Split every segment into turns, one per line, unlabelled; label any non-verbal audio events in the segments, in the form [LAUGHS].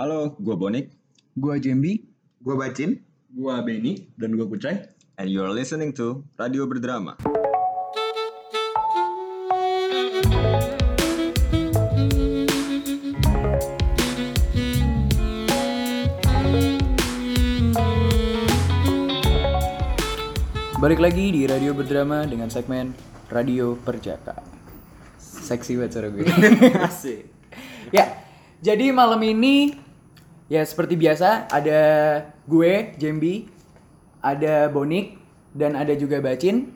Halo, gue Bonik.
Gua Jembi.
Gue bacin.
Gua Benny dan gua Kucai.
And you're listening to Radio Berdrama.
Balik lagi di Radio Berdrama dengan segmen Radio Perjaka. Seksi banget suara gue.
Asik.
ya, jadi malam ini ya seperti biasa ada gue, Jembi, ada Bonik, dan ada juga Bacin.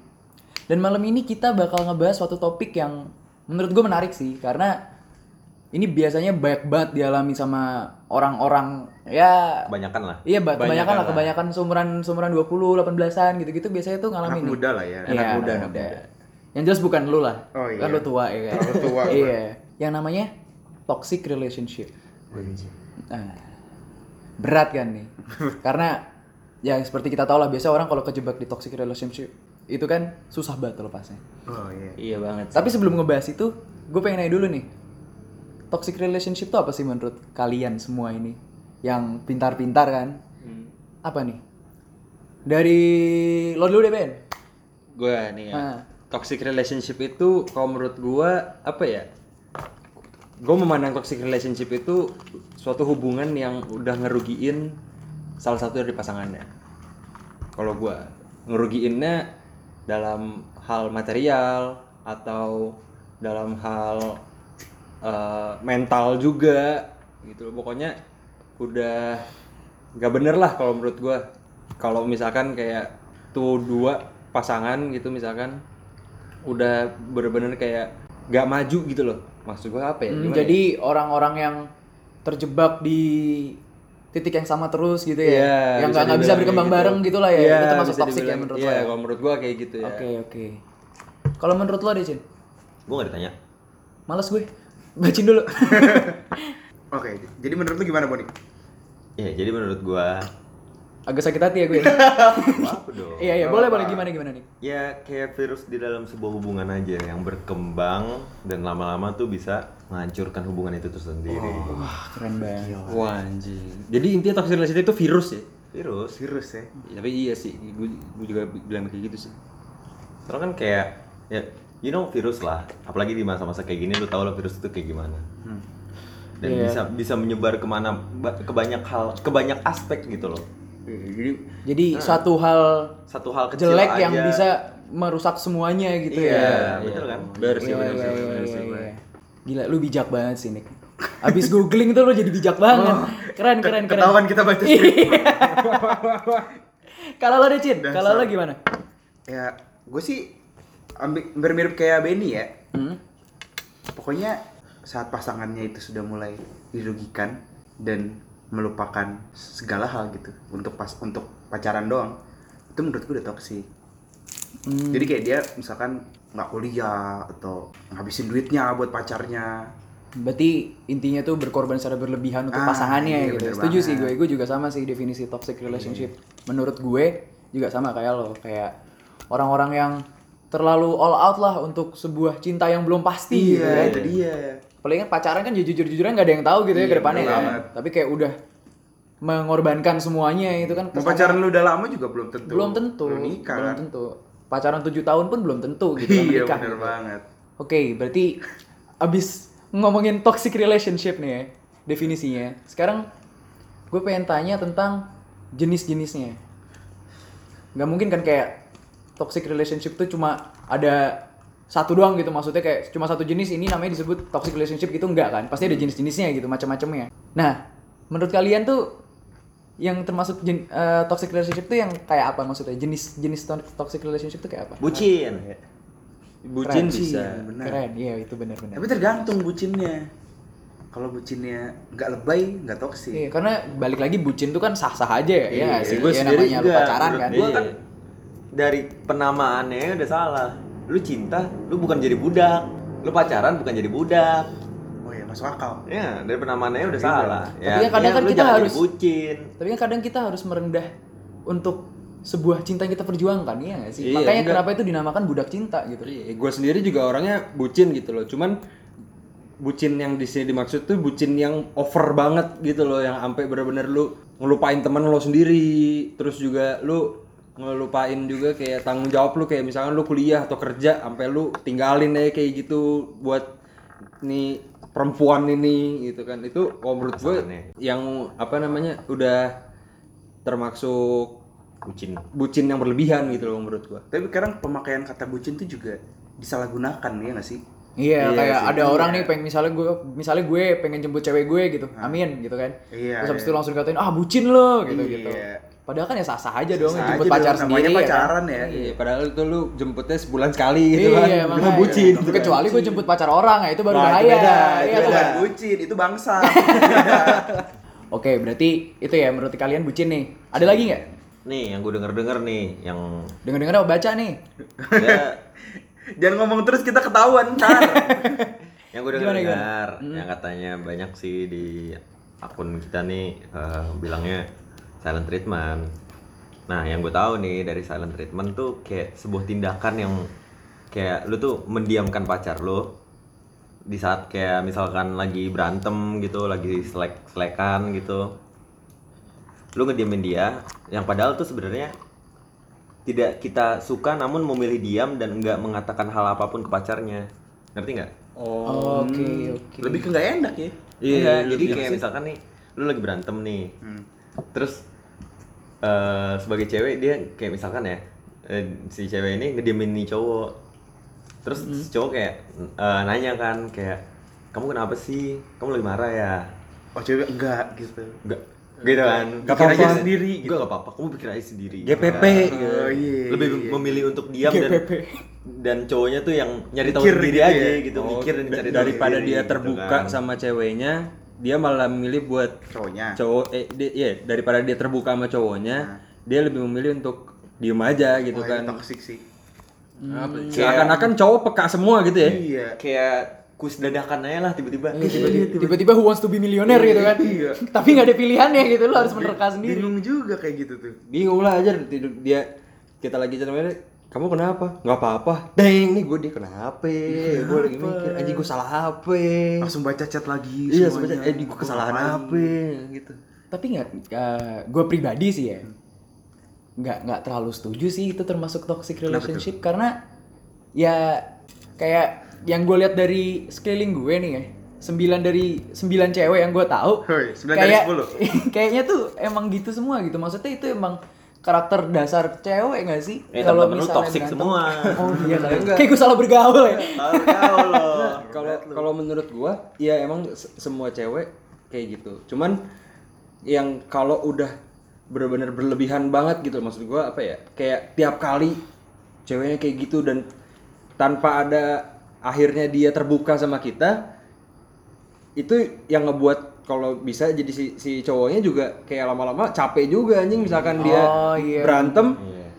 Dan malam ini kita bakal ngebahas suatu topik yang menurut gue menarik sih karena ini biasanya banyak banget dialami sama orang-orang ya
Kebanyakan lah.
Iya, ba- kebanyakan lah, kebanyakan seumuran seumuran 20, 18-an gitu-gitu biasanya tuh ngalamin.
Anak
nih.
muda lah ya.
Iya, anak muda, anak muda. Yang jelas bukan lu lah.
Oh, iya.
Kan lu tua ya kan.
Terlalu tua, gua.
[LAUGHS] iya. Yang namanya toxic relationship. Nah, berat kan
[LAUGHS]
nih. Karena ya seperti kita tahu lah biasa orang kalau kejebak di toxic relationship itu kan susah banget lepasnya.
Oh iya.
Iya banget.
Tapi sebelum ngebahas itu, gue pengen nanya dulu nih. Toxic relationship tuh apa sih menurut kalian semua ini? Yang pintar-pintar kan?
Hmm.
Apa nih? Dari lo dulu deh Ben.
Gua nih ya.
Ah.
Toxic relationship itu kalau menurut gua apa ya? Gua memandang toxic relationship itu suatu hubungan yang udah ngerugiin salah satu dari pasangannya. Kalau gua ngerugiinnya dalam hal material atau dalam hal eh, mental juga gitu loh. Pokoknya udah nggak bener lah kalau menurut gua. Kalau misalkan kayak tuh dua pasangan gitu misalkan udah bener-bener kayak nggak maju gitu loh. Maksud gua apa ya?
Hmm,
Gimana ya?
jadi orang-orang yang terjebak di titik yang sama terus gitu ya.
Iya,
yang nggak nggak bisa
dibilang
berkembang
kayak gitu.
bareng gitu lah ya.
Iya,
itu termasuk
bisa
toxic ya
dibilang-
menurut
iya,
lo. ya?
kalau menurut gua kayak gitu ya.
Oke, oke. Kalau menurut lo deh, Cin.
Gue gak ditanya.
Males gue. Bacin dulu. [LAUGHS]
Oke, jadi menurut lu gimana Boni?
Ya, jadi menurut gua
Agak sakit hati ya gue.
apa dong?
Iya, iya, boleh boleh gimana gimana nih.
Ya kayak virus di dalam sebuah hubungan aja yang berkembang dan lama-lama tuh bisa menghancurkan hubungan itu tuh sendiri.
Keren banget.
Wah anjing. Jadi intinya toxic relationship itu virus ya.
Virus.
Virus ya.
Ya, Tapi iya sih, gue juga bilang kayak gitu sih.
Soalnya kan kayak ya you know virus lah. Apalagi di masa-masa kayak gini lu tau lah virus itu kayak gimana. Dan
Hmm. Iya.
bisa bisa menyebar kemana ba- ke banyak hal, ke banyak aspek gitu loh.
Jadi
Jadi satu hal
Satu hal kecil
jelek yang
aja.
bisa merusak semuanya gitu ya.
Iya, betul kan?
Benar sih,
Iya,
benar
iya,
sih,
iya,
benar
iya,
sih.
iya. Gila lu bijak banget sih Nick. Abis googling tuh lu jadi bijak banget. Keren keren keren. Iya.
Ketahuan kita
[LAUGHS]
baca skrip.
Kalau lo deh Cin, kalau lo gimana?
ya, gue sih ambil mirip kayak Benny ya.
Hmm?
Pokoknya saat pasangannya itu sudah mulai dirugikan dan melupakan segala hal gitu untuk pas untuk pacaran doang itu menurut gue udah toksik
Hmm.
jadi kayak dia misalkan nggak kuliah atau ngabisin duitnya buat pacarnya
Berarti intinya tuh berkorban secara berlebihan untuk
Ah,
pasangannya
iya,
gitu.
bener
Setuju sih gue,
banget. Iya,
gue juga sama sih definisi toxic relationship. Menurut gue juga sama kayak lo, kayak orang-orang yang terlalu all out lah untuk sebuah cinta yang belum pasti gitu kan.
itu dia
Paling kan pacaran kan jujur-jujurnya nggak ada yang tahu gitu ya ke depannya
Iya, bener
kan.
banget.
Tapi kayak udah mengorbankan semuanya itu kan
Mau
kesannya
pacaran lu udah lama juga belum tentu.
belum tentu.
Belum nikah.
Belum
kan?
tentu. Pacaran 7 tahun pun belum tentu gitu kan
Iya,
menikah
bener
gitu.
banget.
Oke, berarti abis ngomongin toxic relationship nih ya, definisinya. Sekarang gue pengen tanya tentang jenis-jenisnya. Nggak mungkin kan kayak toxic relationship tuh cuma ada satu doang gitu maksudnya kayak cuma satu jenis ini namanya disebut toxic relationship gitu enggak kan pasti ada jenis-jenisnya gitu macam-macamnya nah menurut kalian tuh yang termasuk jen- eh, toxic relationship tuh yang kayak apa maksudnya jenis-jenis to- toxic relationship tuh kayak apa
bucin.
Iya. Keren
Bucin
sih,
bisa.
Iya, benar.
keren iya itu benar-benar
Tapi tergantung bucinnya. Kalau bucinnya nggak lebay, nggak toksik.
Iya, karena balik lagi bucin tuh kan sah-sah aja ya. Iya, sih.
Gua
Ya,
sendiri
namanya lu
juga,
pacaran
menurut
kan.
gua
Iya.
kan dari penamaannya udah salah. Lu cinta, lu bukan jadi budak. Lu pacaran bukan jadi budak.
Oh ya, masuk akal.
Ya, dari penamaannya udah salah. Ya,
Tapi kan kadang kan
lu
kita
jangan
harus-
jadi bucin.
Tapi kan kadang kita harus merendah untuk sebuah cinta yang kita perjuangkan, iya nggak sih?
Iya,
Makanya
enggak. Iya,
kenapa itu dinamakan budak cinta gitu.
Gue sendiri juga orangnya bucin gitu loh. Cuman bucin yang di sini dimaksud tuh bucin yang over banget gitu loh yang sampai bener-bener lu ngelupain teman lo sendiri terus juga lu ngelupain juga kayak tanggung jawab lu kayak misalkan lu kuliah atau kerja sampai lu tinggalin aja kayak gitu buat nih perempuan ini gitu kan itu kalau menurut gue yang apa namanya udah termasuk
Kucing.
bucin yang berlebihan gitu loh menurut gua
Tapi sekarang pemakaian kata bucin tuh juga disalahgunakan ya nggak sih?
Iya,
Iya
kayak
sih.
ada orang nih pengen misalnya gue misalnya gue pengen jemput cewek gue gitu. Amin gitu kan.
Iya,
Terus habis
iya.
itu langsung dikatain ah bucin lo gitu gitu.
Iya.
Padahal kan ya sah-sah aja dong
Bisa
jemput
aja
pacar
dong,
sendiri.
namanya
ya kan?
pacaran ya.
Iya, padahal itu lu jemputnya sebulan sekali gitu kan. Itu
Iya, makanya.
mah bucin. gitu kan.
Kecuali gue jemput pacar orang ya itu baru
Wah, itu
bahaya.
beda,
Iya,
itu
tuh.
bukan bucin, itu bangsa. [LAUGHS]
Oke, berarti itu ya menurut kalian bucin nih. Ada lagi nggak?
Nih yang gue denger denger nih yang
Dengar-dengar apa baca nih?
ya,
Jangan ngomong terus kita ketahuan, Car.
yang gue denger dengar yang katanya banyak sih di akun kita nih eh, bilangnya silent treatment. Nah yang gue tahu nih dari silent treatment tuh kayak sebuah tindakan yang kayak lu tuh mendiamkan pacar lo di saat kayak misalkan lagi berantem gitu, lagi selek selekan gitu, lu ngediamin dia yang padahal tuh sebenarnya tidak kita suka namun memilih diam dan nggak mengatakan hal apapun ke pacarnya ngerti nggak
Oke, oke.
Lebih ke nggak enak ya.
iya jadi kayak misalkan nih lu lagi berantem nih terus eh, sebagai cewek dia kayak misalkan ya eh, si cewek ini ngediamin nih cowok terus si cowok kayak eh, nanya kan kayak kamu kenapa sih kamu lagi marah ya
Oh, cewek enggak gitu.
Enggak. Gitu kan.
Gak
Pikir
apa-apa.
sendiri. Gitu. Gue gak apa-apa. Kamu pikir aja sendiri.
GPP.
Nah,
gitu.
Oh, iya.
Lebih memilih untuk diam dan
GPP.
dan cowoknya tuh yang nyari tahu
Mikir
sendiri
gitu ya.
aja gitu,
Oh,
mikir dan cari tahu
daripada
sendiri,
dia
gitu
terbuka
kan.
sama ceweknya, dia malah memilih buat
cowoknya.
cowok eh dia, iya, daripada dia terbuka sama cowoknya, dia lebih memilih untuk diem aja gitu
Wah,
kan.
itu toxic sih.
Seakan-akan cowok peka semua gitu ya.
Iya.
kayak kus dadakan aja lah tiba-tiba.
Iya, tiba-tiba- Tiba-tiba who wants to be millionaire gitu kan.
Iya.
Tapi nggak ada pilihannya gitu lo harus menerka sendiri.
Bingung juga kayak gitu tuh.
Bingung lah aja tidur dia kita lagi cerita kamu kenapa? Nggak apa-apa. Deng, nih gue dia kenapa? Gue lagi mikir, anjing gue salah apa?
Langsung baca chat lagi
Iya sebenarnya
semuanya.
eh gue kesalahan apa gitu.
tapi nggak gue pribadi sih ya nggak nggak terlalu setuju sih itu termasuk toxic relationship karena ya kayak yang gue lihat dari sekeliling gue nih ya sembilan dari sembilan cewek yang gue tahu
Hoi, sembilan dari
kayak-
sepuluh.
[LAUGHS] kayaknya tuh emang gitu semua gitu maksudnya itu emang karakter dasar cewek nggak sih
Eh,
kalau
temen-temen lu
misalnya
toxic
berantem.
semua.
[LAUGHS] oh iya kali. kayak gue salah bergaul ya
Tahu lo.
Kalau kalau menurut gua ya emang se- semua cewek kayak gitu. Cuman yang kalau udah bener-bener berlebihan banget gitu maksud gua apa ya? Kayak tiap kali ceweknya kayak gitu dan tanpa ada akhirnya dia terbuka sama kita itu yang ngebuat kalau bisa jadi si, si cowoknya juga kayak lama-lama capek juga anjing misalkan dia
Oh, iya.
berantem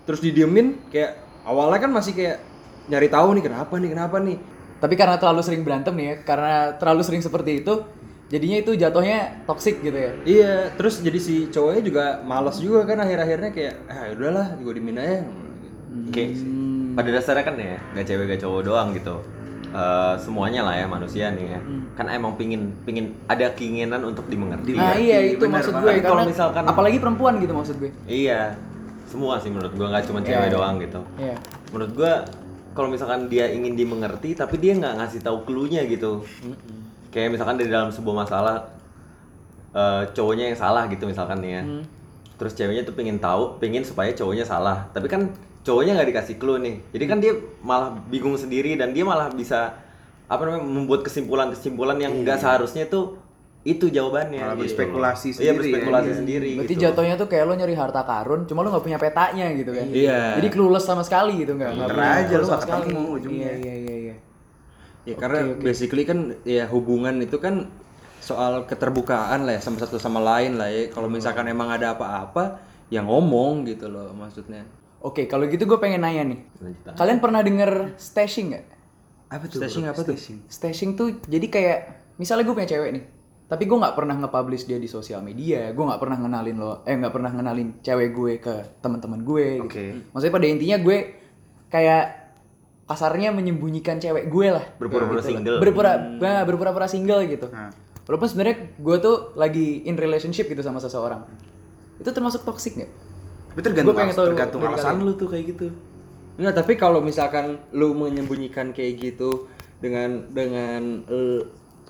terus didiemin kayak awalnya kan masih kayak nyari tahu nih kenapa nih kenapa nih
tapi karena terlalu sering berantem nih ya karena terlalu sering seperti itu jadinya itu jatuhnya toxic gitu ya
Iya, terus jadi si cowoknya juga malas juga kan akhir-akhirnya kayak ah udahlah gue dimin aja.
Hmm.
Oke, pada dasarnya kan ya, gak cewek gak cowok doang gitu. Eh, semuanya lah ya manusia nih ya.
Hmm.
Kan emang pingin pingin ada keinginan untuk dimengerti.
Nah iya itu
benar
maksud gue
banget. Kalau
karena
misalkan-
apalagi perempuan gitu maksud gue.
Iya, semua sih menurut gua nggak cuma cewek doang gitu.
Iya.
Menurut gua kalau misalkan dia ingin dimengerti tapi dia nggak ngasih tahu cluenya gitu. Kayak misalkan dari dalam sebuah masalah eh, cowoknya yang salah gitu misalkan nih ya. Terus ceweknya tuh pengen tahu, pengen supaya cowoknya salah. Tapi kan cowoknya nggak dikasih clue nih. Jadi kan dia malah bingung sendiri dan dia malah bisa apa namanya membuat kesimpulan-kesimpulan yang nggak seharusnya tuh itu jawabannya.
Malah
gitu.
berspekulasi
Iya,
sendiri ya.
berspekulasi
Iya.
sendiri.
Berarti
gitu.
jatuhnya tuh kayak lo nyari harta karun, cuma lo nggak punya petanya gitu kan.
Iya.
Jadi clueless sama sekali gitu nggak? nggak
Muter
punya
aja, lo
clue
nggak
sama
ketemu
sekali.
ujungnya.
Iya iya iya. iya.
Ya karena basically kan ya hubungan itu kan soal keterbukaan lah ya sama satu sama lain lah ya. Kalau misalkan emang ada apa-apa ya ngomong gitu loh maksudnya.
Oke kalau gitu gue pengen nanya nih. Kalian pernah denger stashing nggak?
Apa tuh? Stashing apa tuh?
Stashing tuh jadi kayak misalnya gue punya cewek nih, tapi gue nggak pernah nge-publish dia di sosial media, gue nggak pernah ngenalin lo, eh nggak pernah ngenalin cewek gue ke teman-teman gue. gitu.
Oke.
Maksudnya pada intinya gue kayak kasarnya menyembunyikan cewek gue lah
Berpura-pura
Gitu lah.
single.
berpura nah, berpura-pura single gitu
Hmm. Nah.
walaupun sebenarnya gue tuh lagi in relationship gitu sama seseorang itu termasuk toxic nggak
Tapi
Gua
tergantung,
pengen
alas-
tahu
tergantung
dari
alasan
kalian.
lu tuh kayak gitu.
Nah, tapi kalau misalkan lu menyembunyikan kayak gitu dengan dengan eh,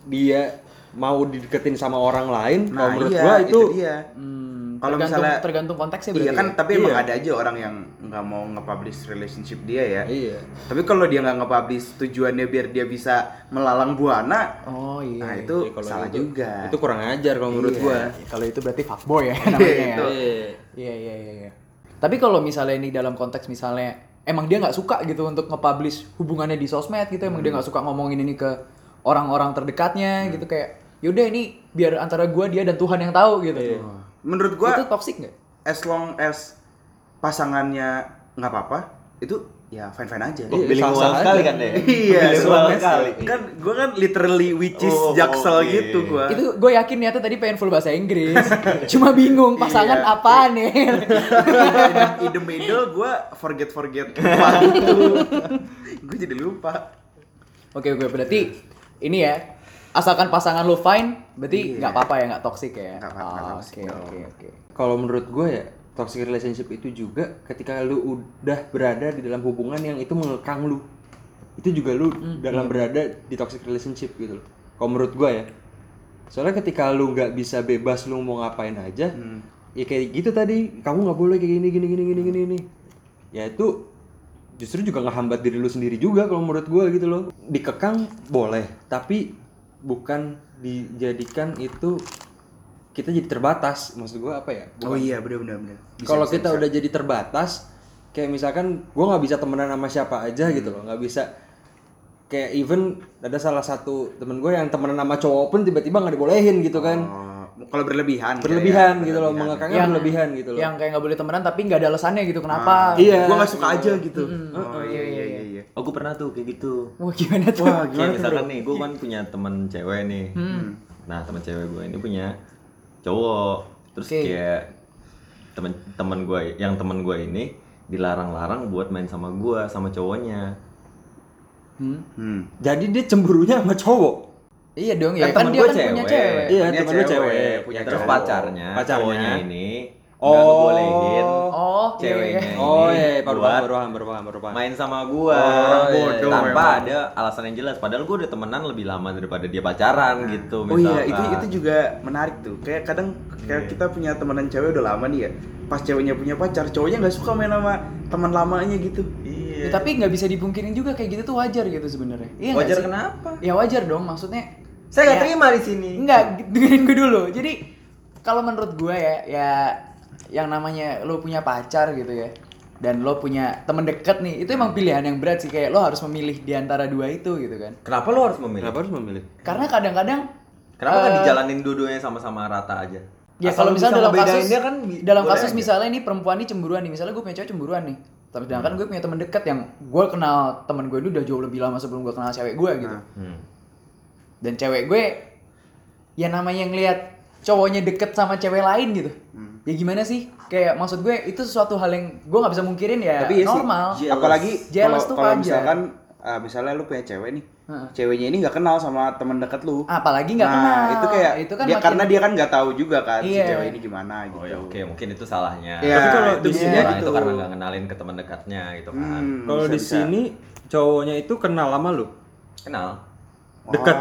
dia mau dideketin sama orang lain, kalau
Nah,
menurut
iya,
gua
itu
itu,
dia.
Hmm,
Kalau
tergantung-
misalnya-
tergantung konteksnya berarti
Iya kan,
ya?
tapi emang ada aja orang yang nggak mau nge-publish relationship dia ya.
iya.
Tapi kalau dia nggak nge-publish tujuannya biar dia bisa melalang buana,
oh iya
nah itu
Jadi kalau
salah
itu-
juga.
Itu kurang ajar kalau menurut
Iya.
gua.
Ya, kalau itu berarti fuckboy ya [LAUGHS] namanya ya.
Itu.
Iya.
Iya iya iya. iya. Tapi kalau misalnya ini dalam konteks misalnya emang dia nggak suka gitu untuk nge-publish hubungannya di sosmed gitu, emang dia
Hmm.
nggak suka ngomongin ini ke orang-orang terdekatnya gitu kayak yaudah ini biar antara gua dia dan Tuhan yang tahu gitu.
Iya. Menurut gua
Itu toxic nggak?
as long as pasangannya nggak apa-apa, itu ya fine fine aja.
Iya,
bilingual
sah-sah
sekali
aja.
kan deh.
Iya,
bilingual
soalnya
sekali.
Kan gua kan literally which is
Oh,
jaksel
oke.
gitu gua.
Itu gue yakin niatnya tadi pengen full bahasa Inggris. [LAUGHS] Cuma bingung pasangan
Iya.
apaan ya.
in the middle gua forget forget lupa gitu. gua jadi lupa.
[LAUGHS] Oke oke berarti ini ya asalkan pasangan lu fine berarti nggak apa-apa ya nggak toxic ya.
Iya. Nggak apa-apa, nggak
Ah,
toxic,
Oke
nggak
oke oke.
Kalau menurut gua ya, toxic relationship itu juga ketika lu udah berada di dalam hubungan yang itu mengekang lu. Itu juga lu dalam berada di toxic relationship gitu loh. Kalau menurut gua ya. Soalnya ketika lu nggak bisa bebas lu mau ngapain aja, ya kayak gitu tadi, kamu nggak boleh kayak gini gini gini gini gini ini. Ya itu justru juga ngehambat diri lu sendiri juga kalau menurut gua gitu loh. Dikekang boleh, tapi bukan dijadikan itu kita jadi terbatas. Maksud gua apa ya?
Oh iya benar benar benar. Bisa,
kalau
bisa,
kita
bisa.
udah jadi terbatas kayak misalkan gue nggak bisa temenan sama siapa aja gitu loh nggak bisa kayak even ada salah satu temen gue yang temenan sama cowok pun tiba-tiba nggak dibolehin gitu kan
Oh, kalau berlebihan.
berlebihan gitu loh mengekangnya berlebihan gitu loh
Yang kayak nggak boleh temenan tapi nggak ada alasannya gitu kenapa?
Iya.
Gua nggak suka aja gitu. Oh iya iya iya. iya.
Oh, gue pernah tuh kayak gitu.
Wah gimana tuh? Hmm.
Wah
Kayak
gimana? tuh?
misalkan nih, gue kan punya temen cewek nih. Nah, temen cewek gue ini punya cowok. Terus
Oke.
kayak temen temen gue, yang temen gue ini dilarang-larang buat main sama gue sama cowoknya.
Hmm.
Hmm.
jadi dia cemburunya sama cowok
Iya dong ya kan
Kan temen
dia
gua
kan punya
cewek. Ya,
cewek.
iya
Punya
temen lu
cewek,
cewek
punya
Terus
cowok.
pacarnya,
Pacarnya.
cowoknya ini
Oh.
nggak ngebolehin
Oh, iya,
ceweknya
iya.
Eh, ini
oh iya baru paham
buat
baru paham baru paham baru paham
main sama gua
Oh, iya,
bodoh
tanpa
memang.
ada alasan yang jelas padahal gua udah temenan lebih lama daripada dia pacaran
Nah.
gitu
Oh iya, itu
misalkan.
itu juga menarik tuh. Kayak kadang kayak kita punya temenan cewek udah lama nih ya. Pas ceweknya punya pacar, cowoknya nggak suka main sama teman lamanya gitu.
Iya.
Ya, tapi nggak bisa dipungkirin juga kayak gitu tuh wajar gitu sebenarnya. Iya nggak
wajar
sih?
kenapa
Ya wajar dong maksudnya.
saya nggak
Ya,
terima di sini
Enggak, dengerin gue dulu. Jadi kalau menurut gue ya, ya yang namanya lo punya pacar gitu ya, dan lo punya temen deket nih, itu emang pilihan yang berat sih kayak lo harus memilih di antara dua itu gitu kan.
kenapa lo harus memilih
kenapa harus memilih
Karena kadang-kadang
kenapa nggak dijalanin dua-duanya sama-sama rata aja
Eh, Ya
Asal
kalau
lu
misalnya
bisa
dalam kasus
ngebedainnya kan bi-
dalam
boleh
kasus
aja.
misalnya ini perempuan ini cemburuan nih, misalnya gue punya cewek cemburuan nih. Tapi sedangkan
Hmm.
gue punya teman dekat yang gue kenal teman gue itu udah jauh lebih lama sebelum gue kenal cewek gue gitu.
Hmm.
Dan cewek gue ya namanya ngelihat cowoknya deket sama cewek lain gitu.
Hmm.
Ya gimana sih? Kayak maksud gue itu sesuatu hal yang gue nggak bisa mungkirin ya
Tapi ya
iya
sih,
normal.
Apalagi
Jealous
kalau-
tuh
kalau
wajar.
misalkan eh, misalnya lu punya cewek nih.
Heeh. Ah.
Ceweknya ini nggak kenal sama teman dekat lu.
Apalagi
Nah,
nggak kenal.
Nah, Itu kayak
Itu kan
ya
dia,
makin-
karena dia kan nggak tahu juga kan
Iya.
si cewek ini gimana gitu.
Oh ya, oke mungkin itu salahnya.
Ya,
Iya,
Tapi kalau
itu
di
bisa
sini
jadi
gitu.
itu
tuh.
karena nggak kenalin ke teman dekatnya gitu kan.
Hmm,
kalau
bisa,
di
bisa.
sini cowoknya itu kenal lama lu
Kenal?
Wah.
deket.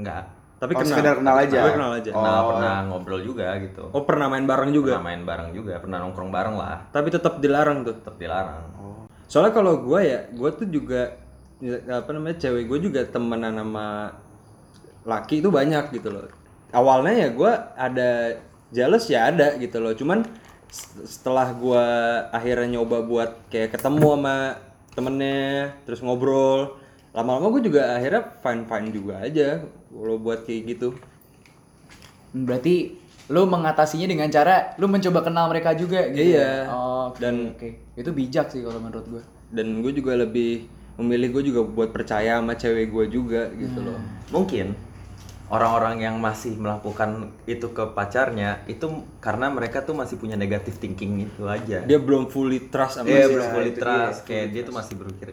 Enggak.
tapi
Oh,
kenal
sekedar kenal aja.
Tapi kenal aja
Kenal
Oh.
pernah ngobrol juga gitu.
oh pernah main bareng juga
Pernah main bareng juga, pernah nongkrong bareng lah.
tapi tetap dilarang tuh
Tetap dilarang.
Oh.
Soalnya kalau gue ya, gue tuh juga ya, apa namanya cewek gue juga temenan sama laki itu banyak gitu loh. Awalnya ya gue ada jealous ya ada gitu loh. Cuman se- setelah gue akhirnya nyoba buat kayak ketemu sama temennya, terus ngobrol, lama-lama gue juga akhirnya fine fine juga aja kalau buat kayak gitu.
Hmm, Berarti lu mengatasinya dengan cara lu mencoba kenal mereka juga gitu.
Iya.
Oh, oke,
Dan-
oke. Itu bijak sih kalau menurut gue.
Dan gue juga lebih memilih gue juga buat percaya sama cewek gue juga gitu loh.
Hmm. Mungkin orang-orang yang masih melakukan itu ke pacarnya itu karena mereka tuh masih punya negative thinking itu aja.
Dia belum fully trust sama
Masih
si
Iya, belum fully
itu dia,
trust, kayak dia tuh masih berpikir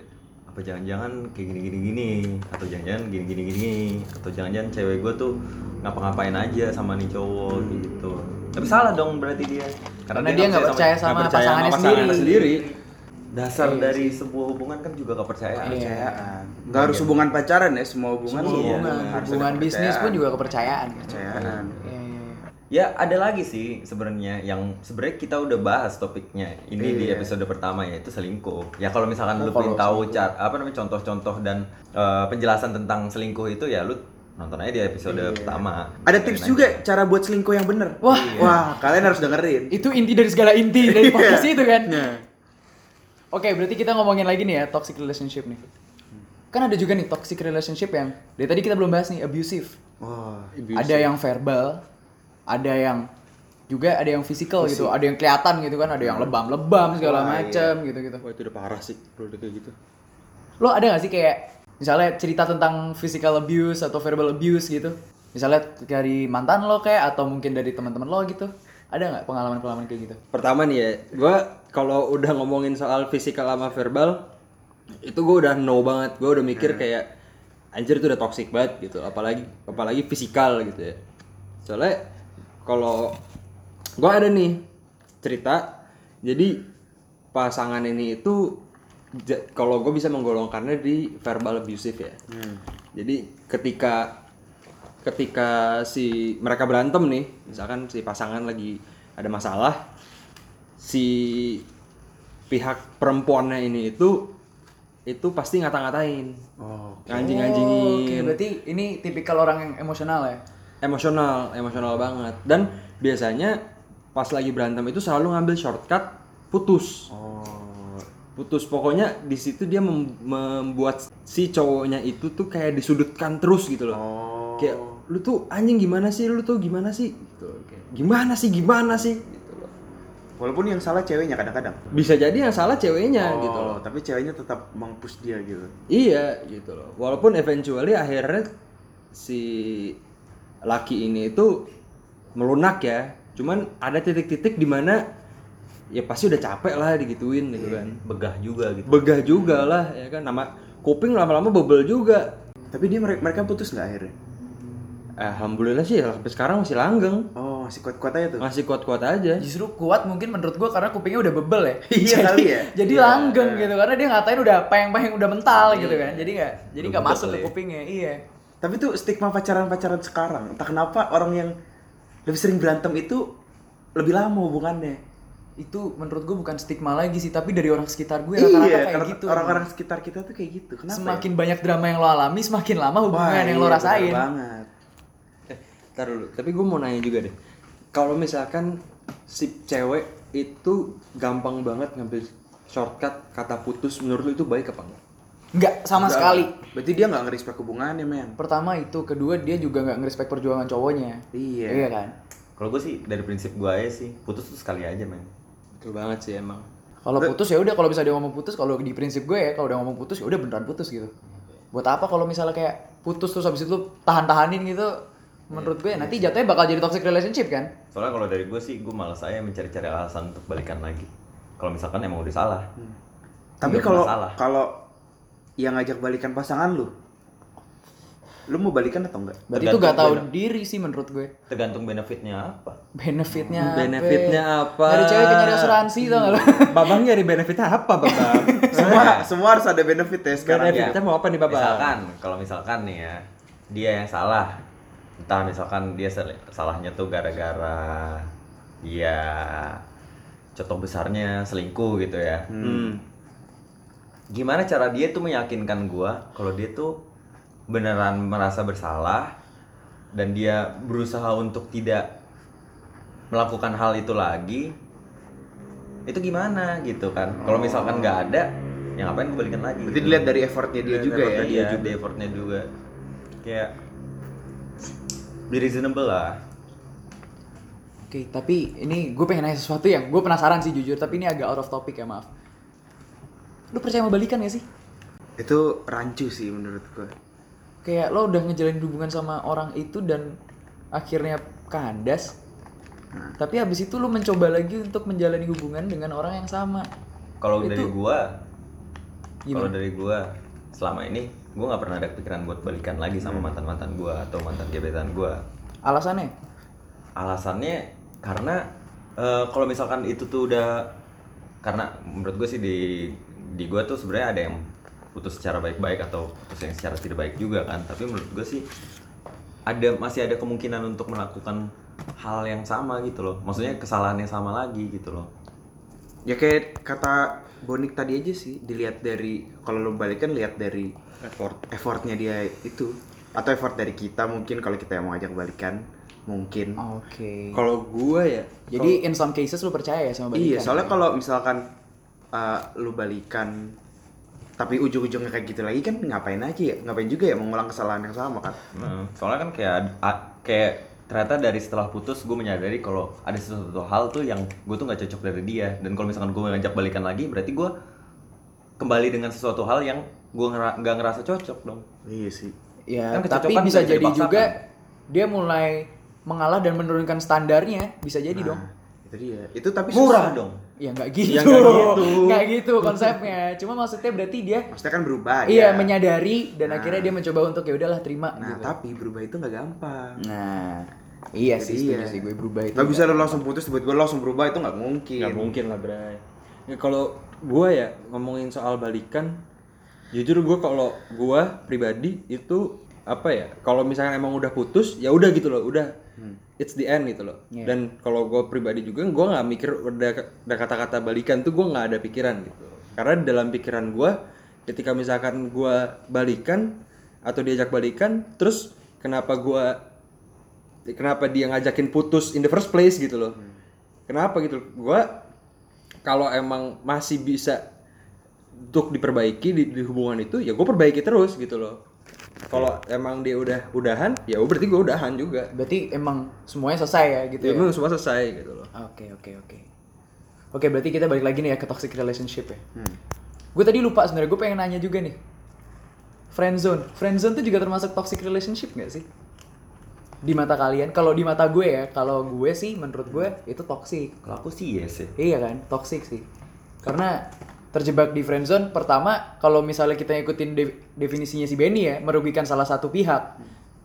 apa jangan-jangan kayak gini-gini gini atau jangan-jangan gini-gini gini atau jangan-jangan cewek gue tuh ngapa-ngapain aja sama nih cowok kayak gitu tapi salah dong berarti dia
Karena dia nggak percaya sama Iya
nggak
pasangannya
sendiri.
sendiri.
dasar dari sebuah hubungan kan juga
Iya.
kepercayaan
Kepercayaan. Ya, kan. Nggak harus hubungan pacaran ya, semua hubungan.
Semua
iya,
hubungan.
harus ada
hubungan bisnis pun
kepercayaan.
juga kepercayaan kan?
Kepercayaan.
Iya, iya, iya.
Ya ada lagi sih sebenarnya yang sebenarnya kita udah bahas topiknya ini di
Iya.
episode pertama yaitu selingkuh. Ya kalau misalkan
Oh,
lu pengen tahu cara apa namanya contoh-contoh dan eh, penjelasan tentang selingkuh itu ya lu nonton aja di episode pertama.
Iya. Ada
Iya,
tips juga cara buat selingkuh yang bener. Wah, wah, kalian harus dengerin.
Itu inti dari segala inti dari podcast itu kan.
Nah,
Oke, berarti kita ngomongin lagi nih ya toxic relationship nih. Kan ada juga nih toxic relationship yang dari tadi kita belum bahas nih abusive.
wah,
Ada yang verbal, ada yang juga ada yang physical gitu, ada yang kelihatan gitu kan, ada yang lebam-lebam segala macem gitu-gitu.
Wah itu udah parah sih kalau udah kayak gitu.
Lo ada gak sih kayak misalnya cerita tentang physical abuse atau verbal abuse gitu? Misalnya dari mantan lo kayak atau mungkin dari teman-teman lo gitu? Ada nggak pengalaman-pengalaman kayak gitu?
Pertama nih ya, gue kalau udah ngomongin soal fisikal sama verbal, itu gue udah no banget. Gue udah mikir kayak anjir itu udah toxic banget gitu. Apalagi apalagi fisikal gitu ya. Soalnya kalau gue ada nih cerita, jadi pasangan ini itu ja- kalau gue bisa menggolongkannya di verbal abusive ya. Jadi ketika ketika si mereka berantem nih, misalkan si pasangan lagi ada masalah, si pihak perempuannya ini itu itu pasti ngata-ngatain,
Oh,
anjing-anjingin,
Oke, berarti ini tipikal orang yang emosional ya?
emosional, emosional banget. Dan biasanya pas lagi berantem itu selalu ngambil shortcut putus. Putus pokoknya di situ dia mem- membuat si cowoknya itu tuh kayak disudutkan terus gitu loh. Kayak lu tuh anjing gimana sih? Lu tuh gimana sih? Gitu. loh. Kayak, Gimana sih? Gimana sih? Gitu loh.
walaupun yang salah ceweknya kadang-kadang.
Bisa jadi yang salah
Iya,
ceweknya gitu loh.
Oh, tapi ceweknya tetap mengpush dia gitu.
Iya gitu loh. Walaupun eventually akhirnya si laki ini itu melunak ya. Cuman ada titik-titik di mana ya pasti udah capek lah digituin gitu kan.
begah juga gitu.
Begah juga lah ya kan. Nama kuping lama-lama bebel juga.
Tapi dia mere- mereka putus nggak akhirnya?
Alhamdulillah sih ya, sampai sekarang masih langgeng.
Oh, masih kuat-kuat aja tuh.
Masih kuat-kuat aja.
Justru kuat mungkin menurut gua karena kupingnya udah bebel ya.
[LAUGHS] Iya Iya,
Jadi-
kali ya.
[LAUGHS] Jadi langgeng gitu karena dia ngatain udah payang-payang udah mental gitu kan. Jadi nggak jadi nggak
bebel
masuk ke
ya.
kupingnya. Iya.
Tapi tuh stigma pacaran-pacaran sekarang, entah kenapa orang yang lebih sering berantem itu lebih lama hubungannya.
Itu menurut gua bukan stigma lagi sih, tapi dari orang sekitar gue rata-rata
Iya,
kayak
karena
gitu.
orang-orang sekitar kita tuh kayak gitu. Kenapa?
semakin banyak drama yang lo alami, semakin lama
ya?
hubungan
Wah,
yang
iya,
lo
bener
rasain.
banget.
Eh, Ntar dulu, tapi gue mau nanya juga deh. Kalau misalkan si cewek itu gampang banget ngambil shortcut kata putus menurut lu itu baik apa enggak?
Nggak sama
Enggak.
sekali.
Berarti dia nggak ngerespek hubungannya, men.
Pertama itu, kedua dia juga nggak ngerespek perjuangan cowoknya.
Iya.
Iya kan?
Kalau gue sih dari prinsip gue aja sih putus tuh sekali aja men.
Betul banget sih emang.
Kalau putus ya udah kalau bisa dia ngomong putus, kalau di prinsip gue ya kalau udah ngomong putus ya udah beneran putus gitu. Buat apa kalau misalnya kayak putus terus habis itu lu tahan-tahanin gitu?
Iya,
Menurut gue nanti jatuhnya bakal jadi toxic relationship kan?
Soalnya kalau dari gue sih gue malas aja mencari-cari alasan untuk balikan lagi. Kalau misalkan emang udah salah.
Hmm. Tapi
Nggak
kalau
masalah.
kalau yang ngajak balikan pasangan lu, lu mau balikan atau
[LAUGHS]
enggak?
Berarti itu
Tergantung
gak tahu
gue
diri sih menurut gue.
Tergantung benefitnya apa.
Benefitnya apa?
Benefitnya apa?
Dari cewek kayak nyari asuransi tau
Iya.
gak lo?
Babang nyari benefitnya apa, Babang? [LAUGHS]
semua semua harus ada benefit ya sekarang.
Benefit. Kita mau apa nih, Babang?
Misalkan, kalau misalkan nih ya, dia yang salah. Entah misalkan dia sel- salahnya tuh gara-gara dia contoh besarnya selingkuh gitu ya.
Hmm.
Gimana cara dia tuh meyakinkan gua kalau dia tuh beneran merasa bersalah dan dia berusaha untuk tidak melakukan hal itu lagi itu gimana gitu kan kalau misalkan nggak ada ya ngapain gue balikan lagi
Berarti
gitu.
dilihat dari effortnya
Iya,
dia juga ya.
Dia juga effortnya juga. Kayak be reasonable lah.
Oke, tapi ini gue pengen nanya sesuatu yang gue penasaran sih jujur, tapi ini agak out of topic ya maaf. Lu percaya mau balikan gak sih?
Itu rancu sih menurut gua.
Kayak lo udah ngejalin hubungan sama orang itu dan akhirnya kandas. Tapi habis itu lo mencoba lagi untuk menjalani hubungan dengan orang yang sama.
Kalau dari gua Kalau dari gua selama ini gua nggak pernah ada pikiran buat balikan lagi
Hmm.
sama mantan-mantan gua atau mantan gebetan gua.
Alasannya?
alasannya karena eh, kalau misalkan itu tuh udah karena menurut gue sih di di gue tuh sebenarnya ada yang putus secara baik-baik atau putus yang secara tidak baik juga kan tapi menurut gue sih ada masih ada kemungkinan untuk melakukan hal yang sama gitu loh maksudnya kesalahan yang sama lagi gitu loh
Ya kayak kata Bonik tadi aja sih dilihat dari kalau lo balikan lihat dari effort effortnya dia itu atau effort dari kita mungkin kalau kita yang mau ajak balikan mungkin
Oh, Oke.
Kalau gua ya,
Jadi in some cases lu percaya ya sama balikan?
iya soalnya kalau misalkan uh, lu balikan tapi ujung-ujungnya kayak gitu lagi kan ngapain aja ya ngapain juga ya mengulang kesalahan yang sama kan
Hmm, soalnya kan kayak a- kayak ternyata dari setelah putus gue menyadari kalau ada sesuatu hal tuh yang gue tuh nggak cocok dari dia dan kalau misalkan gue ngajak balikan lagi berarti gue kembali dengan sesuatu hal yang gue ngera- nggak ngerasa cocok dong
iya sih
Ya,
Kan
tapi
kecocokan
bisa
bisa
jadi
dipaksakan.
juga dia mulai mengalah dan menurunkan standarnya, bisa jadi dong.
Nah, itu dia itu tapi
murah
susah.
dong
Ya nggak gitu.
Ya, nggak gitu.
Nggak gitu konsepnya. Cuma maksudnya berarti dia
maksudnya kan
iya
berubah
Nah.
ya.
menyadari dan akhirnya dia mencoba untuk ya udahlah terima
nah
gitu.
tapi berubah itu nggak gampang
Nah, iya
Jadi
sih setuju
iya.
sih gue berubah itu.
nggak bisa lo langsung putus tiba-tiba lo langsung berubah itu nggak mungkin
nggak mungkin lah Bray. Ya, kalau gua ya ngomongin soal balikan, jujur gua kalau gua pribadi itu apa ya? Kalau misalnya emang udah putus, ya udah gitu loh, udah it's the end gitu loh.
Iya.
Dan kalau gua pribadi juga, gua nggak mikir udah udah kata-kata balikan tuh gua nggak ada pikiran gitu. Karena di dalam pikiran gua, ketika misalkan gua balikan atau diajak balikan, terus kenapa gua kenapa dia ngajakin putus in the first place gitu loh kenapa gitu gua kalau emang masih bisa untuk diperbaiki di, di hubungan itu ya gue perbaiki terus gitu loh kalau emang dia udah udahan ya berarti gue udahan juga
Berarti emang semuanya selesai ya gitu ya.
ya memang semua selesai gitu loh
Oke oke oke. Oke berarti kita balik lagi nih ya ke toxic relationship ya. Gue tadi lupa sebenarnya gue pengen nanya juga nih. Friendzone, friendzone tuh juga termasuk toxic relationship gak sih? Di mata kalian, kalau di mata gue ya, kalau gue sih menurut gue itu toxic.
kalau aku sih yes ya
Iya kan, toxic sih. Karena terjebak di friendzone pertama kalau misalnya kita ngikutin de- definisinya si Benny ya, merugikan salah satu pihak.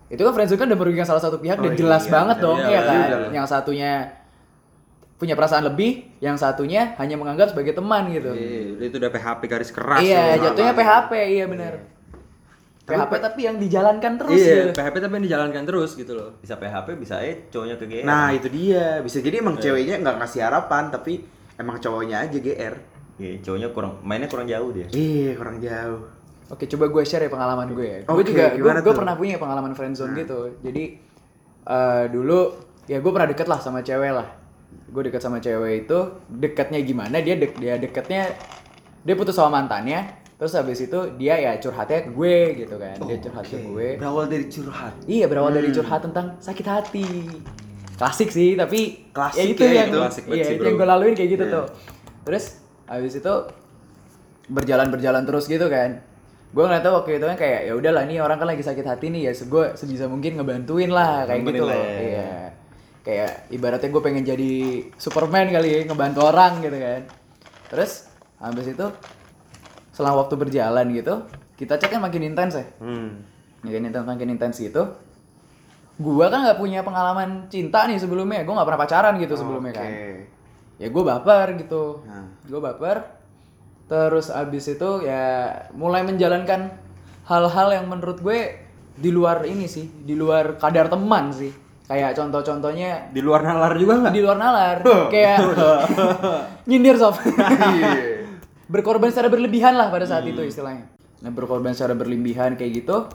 Itu kan friendzone kan udah merugikan salah satu pihak
Oh
dan
iya,
jelas
iya,
banget
iya,
dong,
iya,
ya
iya,
kan?
iya, iya.
Yang satunya punya perasaan lebih, yang satunya hanya menganggap sebagai teman gitu.
Iya, itu udah PHP garis keras gitu
iya,
tuh.
jatuhnya PHP, iya benar. PHP tapi yang dijalankan terus
iya
gitu.
PHP tapi yang dijalankan terus gitu loh
bisa PHP bisa eh cowoknya ke GR
nah itu dia bisa jadi emang ceweknya nggak ngasih harapan tapi emang cowoknya aja gr
Iya, cowoknya kurang mainnya kurang jauh dia
Iya kurang jauh.
Oke, coba gue share ya pengalaman gue ya. Gue
Oke,
juga, gue,
gimana
gue
tuh? Nah.
pernah punya pengalaman friendzone gitu. Jadi eh, dulu ya gue pernah deket lah sama cewek lah. Gue deket sama cewek itu dekatnya gimana? Dia dek dia dekatnya dia putus sama mantannya. Terus habis itu dia ya curhatnya ke gue gitu kan. Dia curhat ke gue.
berawal dari curhat
Iya berawal dari curhat tentang sakit hati. Klasik sih, tapi
Klasik
ya itu
ya,
yang,
itu
klasik banget
iya,
sih,
itu
bro.
yang gue laluin kayak gitu tuh. Terus habis itu berjalan berjalan terus gitu kan. Gue ngeliatnya waktu itu kan kayak ya udahlah nih orang kan lagi sakit hati nih ya, gue sebisa mungkin ngebantuin lah kayak gitu
Nemenin lah
loh.
ya.
Iya. Kayak ibaratnya gue pengen jadi Superman kali ya, ngebantu orang gitu kan. Terus habis itu selang waktu berjalan gitu, kita cek kan makin intens ya
Hmm.
makin intens makin intens gitu gua kan nggak punya pengalaman cinta nih sebelumnya gua nggak pernah pacaran gitu sebelumnya kan ya gua baper gitu gua baper terus abis itu ya mulai menjalankan hal-hal yang menurut gue di luar ini sih di luar kadar teman sih kayak contoh-contohnya
di luar nalar juga nggak
di luar nalar kayak nyindir sob berkorban secara berlebihan lah pada saat itu istilahnya nah berkorban secara berlebihan kayak gitu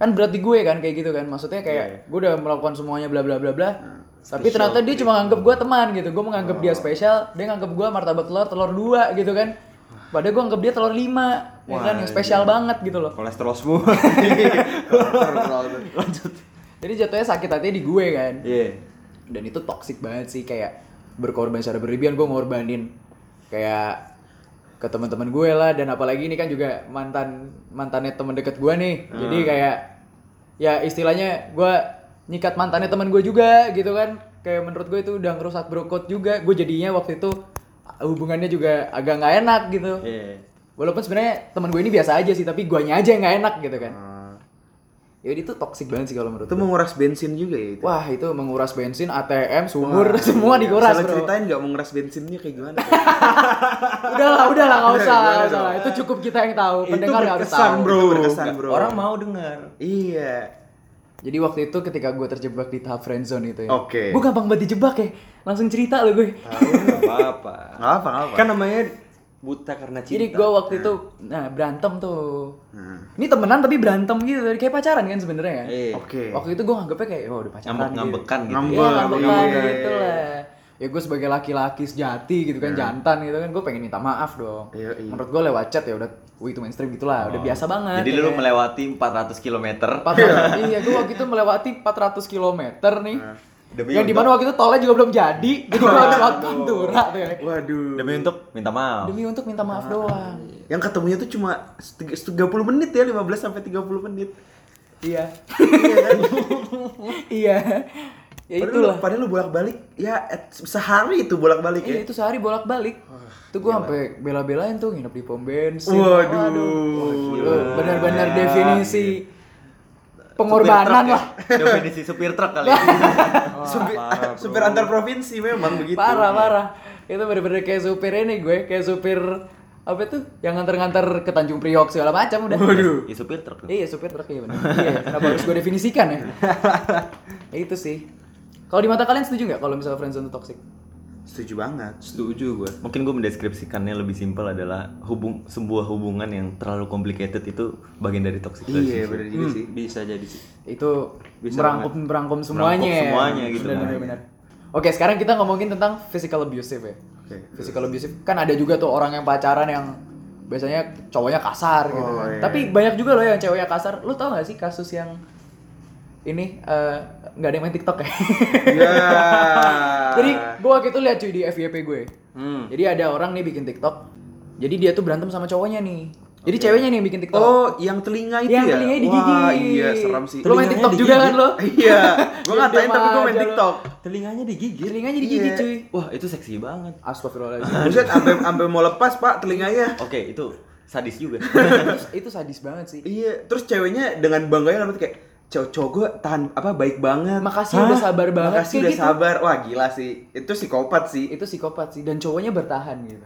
kan berat di gue kan kayak gitu kan maksudnya kayak gue udah melakukan semuanya bla bla bla bla tapi ternyata dia cuma nganggep gue teman gitu gue menganggap dia spesial dia nganggep gue martabak telur telur dua gitu kan padahal gue nganggep dia telur lima ya kan yang spesial banget gitu loh
kolesterol semua lanjut
jadi jatuhnya sakit hatinya di gue kan
iya
dan itu toxic banget sih kayak berkorban secara berlebihan gue ngorbanin kayak ke teman-teman gue lah dan apalagi ini kan juga mantan mantannya teman deket gue nih jadi kayak ya istilahnya gue nyikat mantannya teman gue juga gitu kan kayak menurut gue itu udah ngerusak brokot juga gue jadinya waktu itu hubungannya juga agak nggak enak gitu
iya
Walaupun sebenarnya teman gue ini biasa aja sih, tapi guanya aja yang nggak enak gitu kan. Ya
Eh,
itu toxic banget sih kalau menurut
itu
gue.
menguras bensin juga ya itu.
Wah, itu menguras bensin, ATM, sumur,
Wah,
semua
iya.
dikuras,
Salah
Bro.
ceritain nggak menguras bensinnya kayak gimana?
Udahlah, udahlah, nggak usah,
Gimana
nggak usah.
dong?
Itu cukup kita yang tahu, pendengar nggak harus tahu.
[LAUGHS] bro. Itu berkesan, bro.
Orang mau dengar.
iya.
Jadi waktu itu ketika gue terjebak di tahap friendzone itu ya.
Oke. Ah,
Gue gampang banget dijebak ya. Langsung cerita lo gue.
Gak apa-apa.
Nggak apa, nggak apa.
Kan namanya buta karena cinta.
Jadi gue waktu
Ah.
itu nah berantem tuh.
Hmm.
Ini temenan tapi berantem gitu, kayak pacaran kan sebenarnya kan.
Eh,
Oke.
Waktu itu gue nganggepnya kayak oh udah pacaran.
Ngambek-ngambekan gitu.
Gitu.
Ngambek.
Iya,
Wah,
ngambekan
iya.
gitu lah. Ya gue sebagai laki-laki sejati gitu kan, jantan gitu kan, gue pengen minta maaf dong.
Hmm. Iya, iya. Oh.
Menurut gue lewat chat ya udah, wih itu mainstream gitulah, udah biasa banget.
Jadi
ya
lu
kan.
melewati 400 km.
[LAUGHS]
400, iya gue waktu itu melewati 400 km nih.
Nah,
Demi
yang
untuk-
dimana waktu itu tolnya juga belum jadi,
[LAUGHS]
jadi gue harus lewat Pantura tuh ya.
Waduh. Nah.
Demi untuk minta maaf.
Demi untuk minta maaf doang.
Yang ketemunya tuh cuma seti- 30 menit ya, 15 sampai 30 menit.
Iya. [LAUGHS]
Iya kan?
iya. Ya
Padahal lu-
itulah.
Padahal lu bolak-balik ya at- sehari itu bolak-balik ya.
Iya, itu sehari bolak-balik. Tuh gue sampai bela-belain tuh nginep di pom bensin.
Waduh.
Gila, Benar-benar definisi pengorbanan lah.
ya. Definisi supir truk kali.
[LAUGHS]
ya.
Supir, [LAUGHS] supir antar provinsi memang begitu.
Parah, parah. Itu bener-bener kayak supir ini gue, kayak supir apa tuh yang nganter-nganter ke Tanjung Priok segala macam udah.
Ya, supir truk.
Iya supir truk iya benar. Iya, kenapa harus gue definisikan ya? ya itu sih. Kalau di mata kalian setuju nggak kalau misalnya friendzone itu toxic?
Setuju banget.
Setuju gue. Mungkin gue mendeskripsikannya lebih simpel adalah hubung sebuah hubungan yang terlalu complicated itu bagian dari toxic relationship.
Iya, benar juga sih.
bisa jadi sih.
Itu
Bisa
merangkum merangkum semuanya.
Merangkum
ya.
semuanya gitu,
Benar,
kan.
benar, benar. Oke sekarang kita ngomongin tentang physical abusive ya.
Oke.
Physical abusive kan ada juga tuh orang yang pacaran yang biasanya cowoknya kasar gitu.
Oh, iya.
Tapi banyak juga loh yang ceweknya kasar. Lu tau gak sih kasus yang ini eh, nggak ada yang main TikTok ya?
Ya.
[LAUGHS] Jadi gue waktu itu lihat cuy di FYP gue.
Hmm.
Jadi ada orang nih bikin TikTok. Jadi dia tuh berantem sama cowoknya nih. Jadi ceweknya nih yang bikin TikTok.
Oh, yang telinga itu
Yang
ya?
telinganya
Wah,
digigit.
iya, seram sih.
Lu main TikTok juga kan lo?
Iya,
[LAUGHS]
gue
Ya,
ngatain
diam
tapi gue main
aja lo.
TikTok.
Telinganya digigit.
Telinganya digigit
Iya.
cuy.
Wah, itu seksi banget.
Astagfirullahaladzim.
Buset, ampe ampe mau lepas pak ya. telinganya.
Oke, itu sadis juga.
Terus itu sadis banget sih.
Iya, terus ceweknya dengan bangganya ngeliat kayak cowok cowok gue tahan apa baik banget.
Makasih udah sabar banget,
Makasih
kayak
udah
gitu. Iya,
sabar. Wah gila sih, itu psikopat sih.
Itu psikopat sih dan cowoknya bertahan gitu.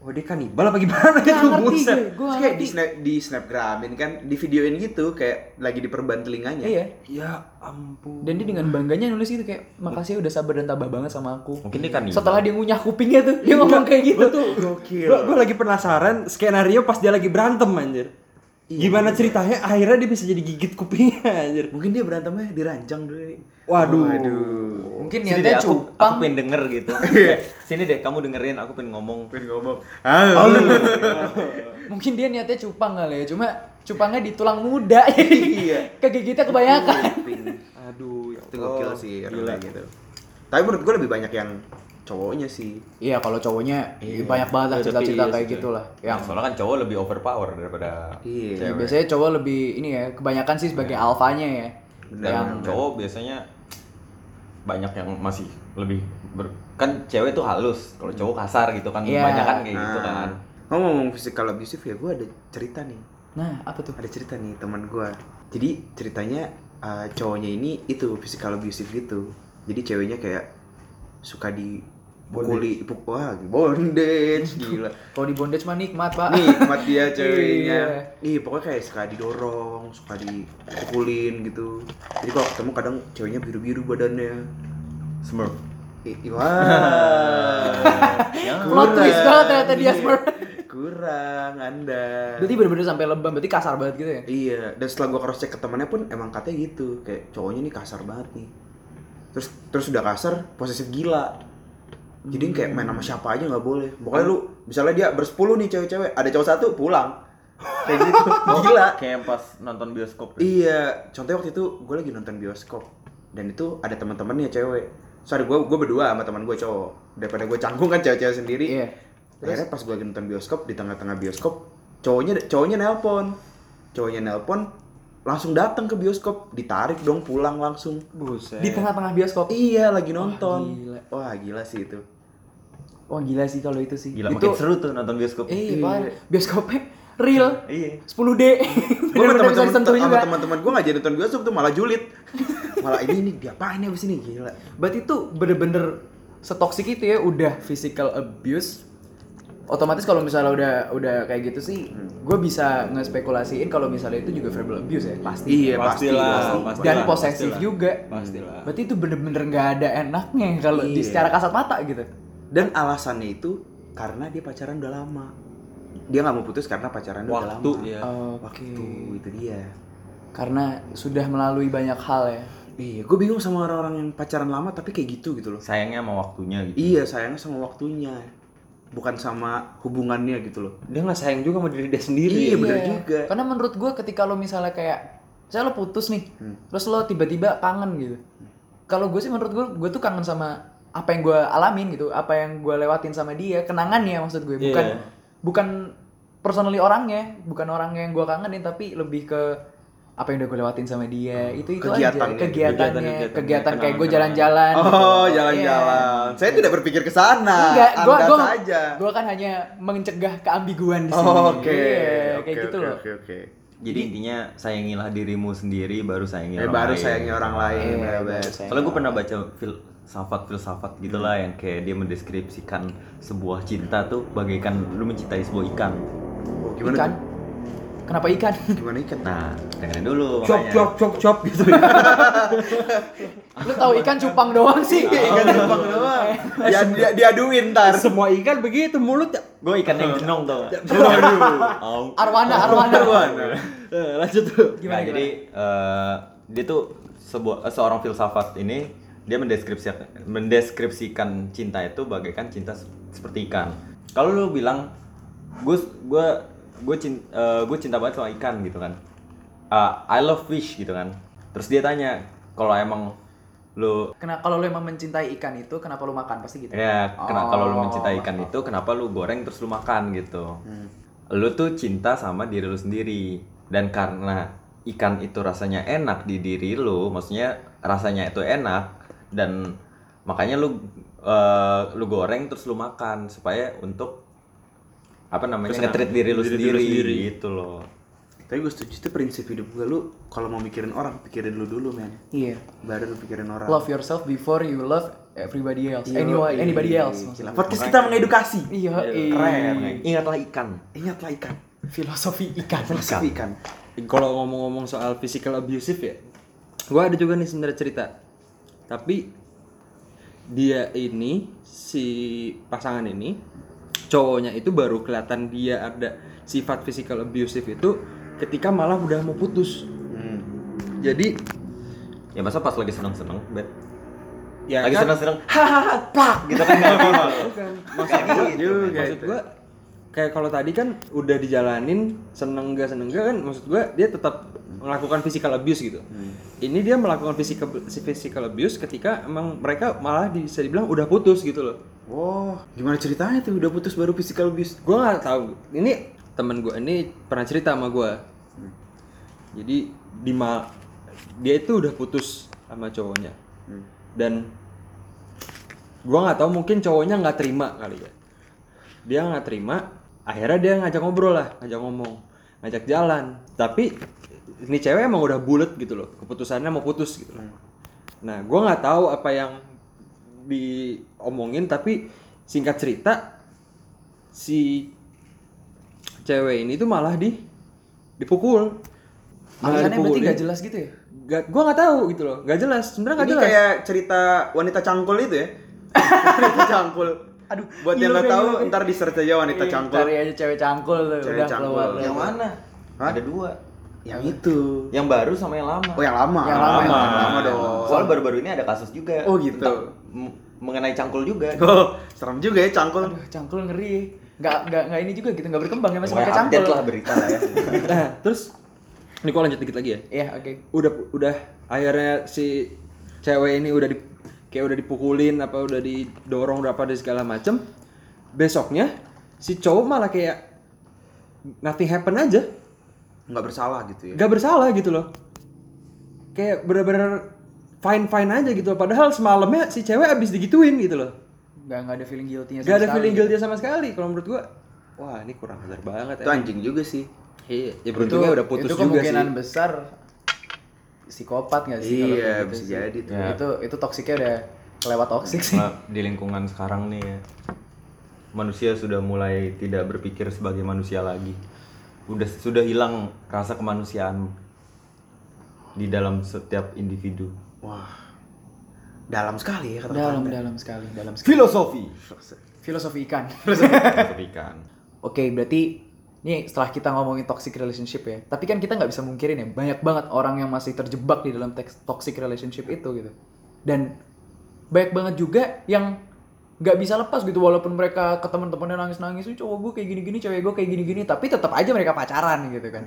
Oh, dia kanibal apa gimana itu?
ngerti
Buset.
gue, gue
Terus kayak
ngerti.
di snap di snapgramin kan, di videoin gitu kayak lagi diperban telinganya.
Iya.
Ya ampun.
Dan dia dengan bangganya nulis gitu kayak makasih udah sabar dan tabah banget sama aku.
Mungkin dia kan
Setelah dia ngunyah kupingnya tuh, dia ngomong kayak gitu.
Gue tuh gokil. Gue lagi penasaran skenario pas dia lagi berantem anjir. Gimana ceritanya akhirnya dia bisa jadi gigit kupingnya anjir.
Mungkin dia berantemnya di ranjang dulu.
Waduh.
Mungkin
Sini deh,
niatnya
aku, aku
cupang.
pengen denger gitu. Sini deh, kamu dengerin, aku pengen ngomong.
ngomong.
Mungkin dia niatnya cupang kali ya, cuma cupangnya di tulang muda. [LAUGHS] Iya. Kegigitnya kebanyakan.
Aduh, ya
itu
Oh,
gokil
Allah.
sih orang
Gila.
kayak gitu. Tapi menurut gue lebih banyak yang cowoknya sih.
Iya kalau cowoknya banyak banget lah
Ya, tapi
cerita-cerita
iya
kayak
sih,
gitulah.
Ya,
Yang
soalnya kan cowok lebih overpower daripada
Iya.
ya,
cewek. Iya.
biasanya cowok lebih ini ya kebanyakan sih sebagai alfanya ya.
Dan
yang
cowok biasanya banyak yang masih lebih ber- kan cewek tuh halus, kalau cowok kasar gitu kan.
Iya.
Banyak kan kayak gitu
Nah,
kan.
Ngomong physical abusive ya, gue ada cerita nih.
nah apa tuh?
Ada cerita nih teman gue. Jadi ceritanya uh, cowoknya ini itu physical abusive gitu. Jadi ceweknya kayak suka di pukuli, puk- wah
[LAUGHS]
bondage gila.
Kalau di bondage mah nikmat pak.
Nikmat dia ceweknya.
Iya.
Ih, pokoknya kayak suka didorong, suka dipukulin gitu. Jadi kalau ketemu kadang ceweknya biru-biru badannya.
Smurf.
Ih, ih, [LAUGHS] Wah.
Plot twist banget ternyata dia smurf.
Iya. Kurang Anda.
Berarti bener-bener sampai lebam, berarti kasar banget gitu ya?
Iya, dan setelah gua cross check ke temannya pun emang katanya gitu, kayak cowoknya nih kasar banget nih. Terus terus udah kasar, posesif gila. Jadi kayak main sama siapa aja nggak boleh. Pokoknya lu misalnya dia bersepuluh nih cewek-cewek, ada cowok satu pulang. Kayak gitu. Gila.
Kayak pas nonton bioskop.
Iya, contohnya waktu itu gue lagi nonton bioskop dan itu ada teman-temannya cewek. So ada gue gue berdua sama teman gue cowok. Daripada gue canggung kan cewek-cewek sendiri.
Iya.
Akhirnya pas gue lagi nonton bioskop di tengah-tengah bioskop, cowoknya cowoknya nelpon. Cowoknya nelpon langsung datang ke bioskop, ditarik dong pulang langsung.
Buset.
Di tengah-tengah bioskop.
Iya, lagi nonton.
gila.
Wah, gila sih itu.
Wah gila sih kalau itu sih.
Gila,
itu,
makin seru tuh nonton bioskop.
Iya,
Eh, parah. bioskopnya real.
Iya.
10D.
gue sama
Bener-bener bisa
teman-teman
disentuh
sama
juga.
teman-teman gue nggak jadi nonton bioskop tuh malah
[LAUGHS]
julid malah ini ini diapain ya abis ini gila
Berarti itu bener-bener setoksik itu ya udah physical abuse. Otomatis kalau misalnya udah udah kayak gitu sih, gue bisa ngespekulasiin kalau misalnya itu juga verbal abuse ya pasti.
iya
pastilah, pastilah,
Dan posesif
pastilah.
juga.
Pastilah.
Berarti itu bener-bener nggak ada enaknya kalau di secara kasat mata gitu.
dan alasannya itu karena dia pacaran udah lama dia nggak mau putus karena pacaran udah lama
Waktu
iya.
ya.
Oh, Oke.
waktu itu dia
Karena sudah melalui banyak hal ya.
iya gue bingung sama orang-orang yang pacaran lama tapi kayak gitu gitu loh
Sayangnya sama waktunya gitu.
iya sayangnya sama waktunya bukan sama hubungannya gitu loh
Dia nggak sayang juga sama diri dia sendiri.
Iya, bener juga.
Karena menurut gue ketika lo misalnya kayak misalnya lo putus nih,
Hmm.
terus lo tiba-tiba kangen gitu. Kalau gue sih menurut gue gue tuh kangen sama apa yang gue alamin gitu, apa yang gue lewatin sama dia, kenangannya maksud gue, bukan
Iya.
bukan personally orangnya, bukan orang yang gue kangenin tapi lebih ke apa yang udah gue lewatin sama dia itu itu
Oh, Kegiatannya.
aja kegiatannya
Kegiatan-kegiatannya,
kegiatan kayak gue
kenangan-kenangan.
jalan-jalan
oh
gitu. Iya.
jalan-jalan saya tidak berpikir ke sana
Enggak, gua
Anda
gua
saja
gua kan hanya mencegah keambiguan di sini.
Oh, oke
Iya,
Oke,
kayak gitu
oke,
loh.
oke oke
Jadi
Iya.
intinya sayangilah dirimu sendiri baru sayangi
Eh,
orang
baru
lain.
sayangi orang lain
Iya,
ya, Bes.
Soalnya gue pernah baca filsafat filsafat gitulah yang kayak dia mendeskripsikan sebuah cinta tuh bagaikan lu mencintai sebuah ikan.
Oh, gimana
ikan.
tuh?
Kenapa ikan? [LAUGHS]
gimana ikan
Nah, dengerin dulu
Cop
makanya.
cop cop cop gitu.
Lu tahu ikan cupang doang sih.
ikan lempang doang
Ya,
dia, dia, diaduin tar
Semua ikan begitu mulutnya.
Gue ikan yang jenong tau gak? Au.
Arwana, arwana.
[LAUGHS] Eh, lanjut tuh.
Gimana,
nah, jadi eh, dia tuh sebuah eh, seorang filsafat ini dia mendeskripsikan mendeskripsikan cinta itu bagaikan cinta se- seperti ikan. Kalau lu bilang gue gue gue cinta gue eh, cinta banget sama ikan gitu kan. Ah, I love fish gitu kan. Terus dia tanya kalau emang lu
Kena kalau lu emang mencintai ikan itu, kenapa lu makan pasti gitu.
ya kena- kalau lu
Oh.
mencintai ikan itu kenapa lu goreng terus lu makan gitu lu tuh cinta sama diri lu sendiri dan karena ikan itu rasanya enak di diri lu maksudnya rasanya itu enak dan makanya lu eh, lu goreng terus lu makan supaya untuk apa namanya
Terus
ngetrit diri
diri
lu
lu
sendiri,
sendiri.
gitu loh
tapi gue setuju itu prinsip hidup gue lu kalau mau mikirin orang pikirin lu dulu men
Iya.
baru lu pikirin orang
Love yourself before you love everybody else.
Iya,
Anyone,
iya,
anybody
iya,
else.
iya.
maksudnya.
podcast kita mengedukasi
Iya,
Keren.
iya.
Nah,
Hmm.
ingatlah ikan
ingatlah ikan
Filosofi ikan.
filosofi ikan
Kalau ngomong-ngomong soal physical abusive ya, gua ada juga nih sebenarnya cerita. Tapi dia ini si pasangan ini cowoknya itu baru kelihatan dia ada sifat physical abusive itu ketika malah udah mau putus. Jadi
ya masa pas lagi seneng seneng bet
ya
lagi
kan,
seneng seneng hahaha plak gitu kan nggak bisa.
maksud gua,
juga
gitu, maksud
itu.
gua, kayak kalau tadi kan udah dijalanin seneng gak seneng gak kan maksud gua dia tetap melakukan physical abuse gitu ini dia melakukan physical physical abuse ketika emang mereka malah bisa dibilang udah putus gitu loh
Wah, Oh, gimana ceritanya tuh udah putus baru physical abuse?
gue nggak tahu ini temen gue ini pernah cerita sama gue jadi di ma- dia itu udah putus sama cowoknya dan gue nggak tahu mungkin cowoknya nggak terima kali ya dia nggak terima akhirnya dia ngajak ngobrol lah ngajak ngomong ngajak jalan tapi ini cewek emang udah bulat gitu loh keputusannya mau putus gitu
Hmm.
loh nah gue nggak tahu apa yang diomongin tapi singkat cerita si cewek ini tuh malah di dipukul malah
Alasannya berarti
dipukul
nggak jelas gitu ya?
gak, gue nggak tahu gitu loh nggak jelas sebenarnya nggak
Ini
jelas
kayak cerita wanita cangkul
[LAUGHS]
itu ya? wanita cangkul.
Aduh, iya,
buat yang
gila,
nggak tahu
gila.
ntar di search aja wanita
Iya,
cangkul.
Cari aja cewek cangkul tuh,
Cewek
udah
cangkul.
keluar.
yang mana ada dua
Yang itu.
yang baru sama yang lama
Oh, yang lama.
Yang lama.
Yang lama dong.
Iya. Soalnya baru-baru ini ada kasus juga.
Oh, gitu.
Tentang m- mengenai cangkul juga.
Oh, [LAUGHS] serem juga ya cangkul.
Aduh, cangkul ngeri. Nggak, nggak, nggak ini juga gitu, nggak berkembang ya masih
Pokoknya
pakai cangkul.
update lah berita lah ya.
nah terus ini gue lanjut dikit lagi ya
Iya, oke.
udah udah akhirnya si cewek ini udah di, kayak udah dipukulin apa udah didorong udah apa dan segala macem besoknya si cowok malah kayak nothing happen aja
Nggak bersalah gitu ya.
nggak bersalah gitu loh kayak bener-bener fine fine aja gitu loh. padahal semalamnya si cewek abis digituin gitu loh
nggak nggak ada feeling guilty-nya Iya,
Gak
sama
ada
sekali.
feeling guilty sama sekali kalau menurut gua. Wah, ini kurang ajar banget ya.
Itu anjing juga sih.
Iya, ya
itu
beruntungnya udah putus
itu
juga sih.
kemungkinan besar psikopat nggak sih kalau kayak
Iya,
gitu
bisa
sih?
jadi tuh.
Ya.
itu itu toksiknya udah kelewat toksik sih
Nah, di lingkungan sekarang nih ya, manusia sudah mulai tidak berpikir sebagai manusia lagi. Udah sudah hilang rasa kemanusiaan di dalam setiap individu.
Wah. Dalam sekali ya kata
[LAUGHS] dalam dalam sekali dalam sekali
Filosofi.
filosofi
[LAUGHS]
ikan
Filosofi kan.
Oke, berarti ini setelah kita ngomongin toxic relationship ya. Tapi kan kita nggak bisa mungkirin ya, banyak banget orang yang masih terjebak di dalam teks- toxic relationship itu gitu. Dan banyak banget juga yang nggak bisa lepas gitu walaupun mereka ke teman-temannya nangis-nangis, "Ih, cowok gue kayak gini-gini, cewek gue kayak gini-gini, tapi tetap aja mereka pacaran gitu kan.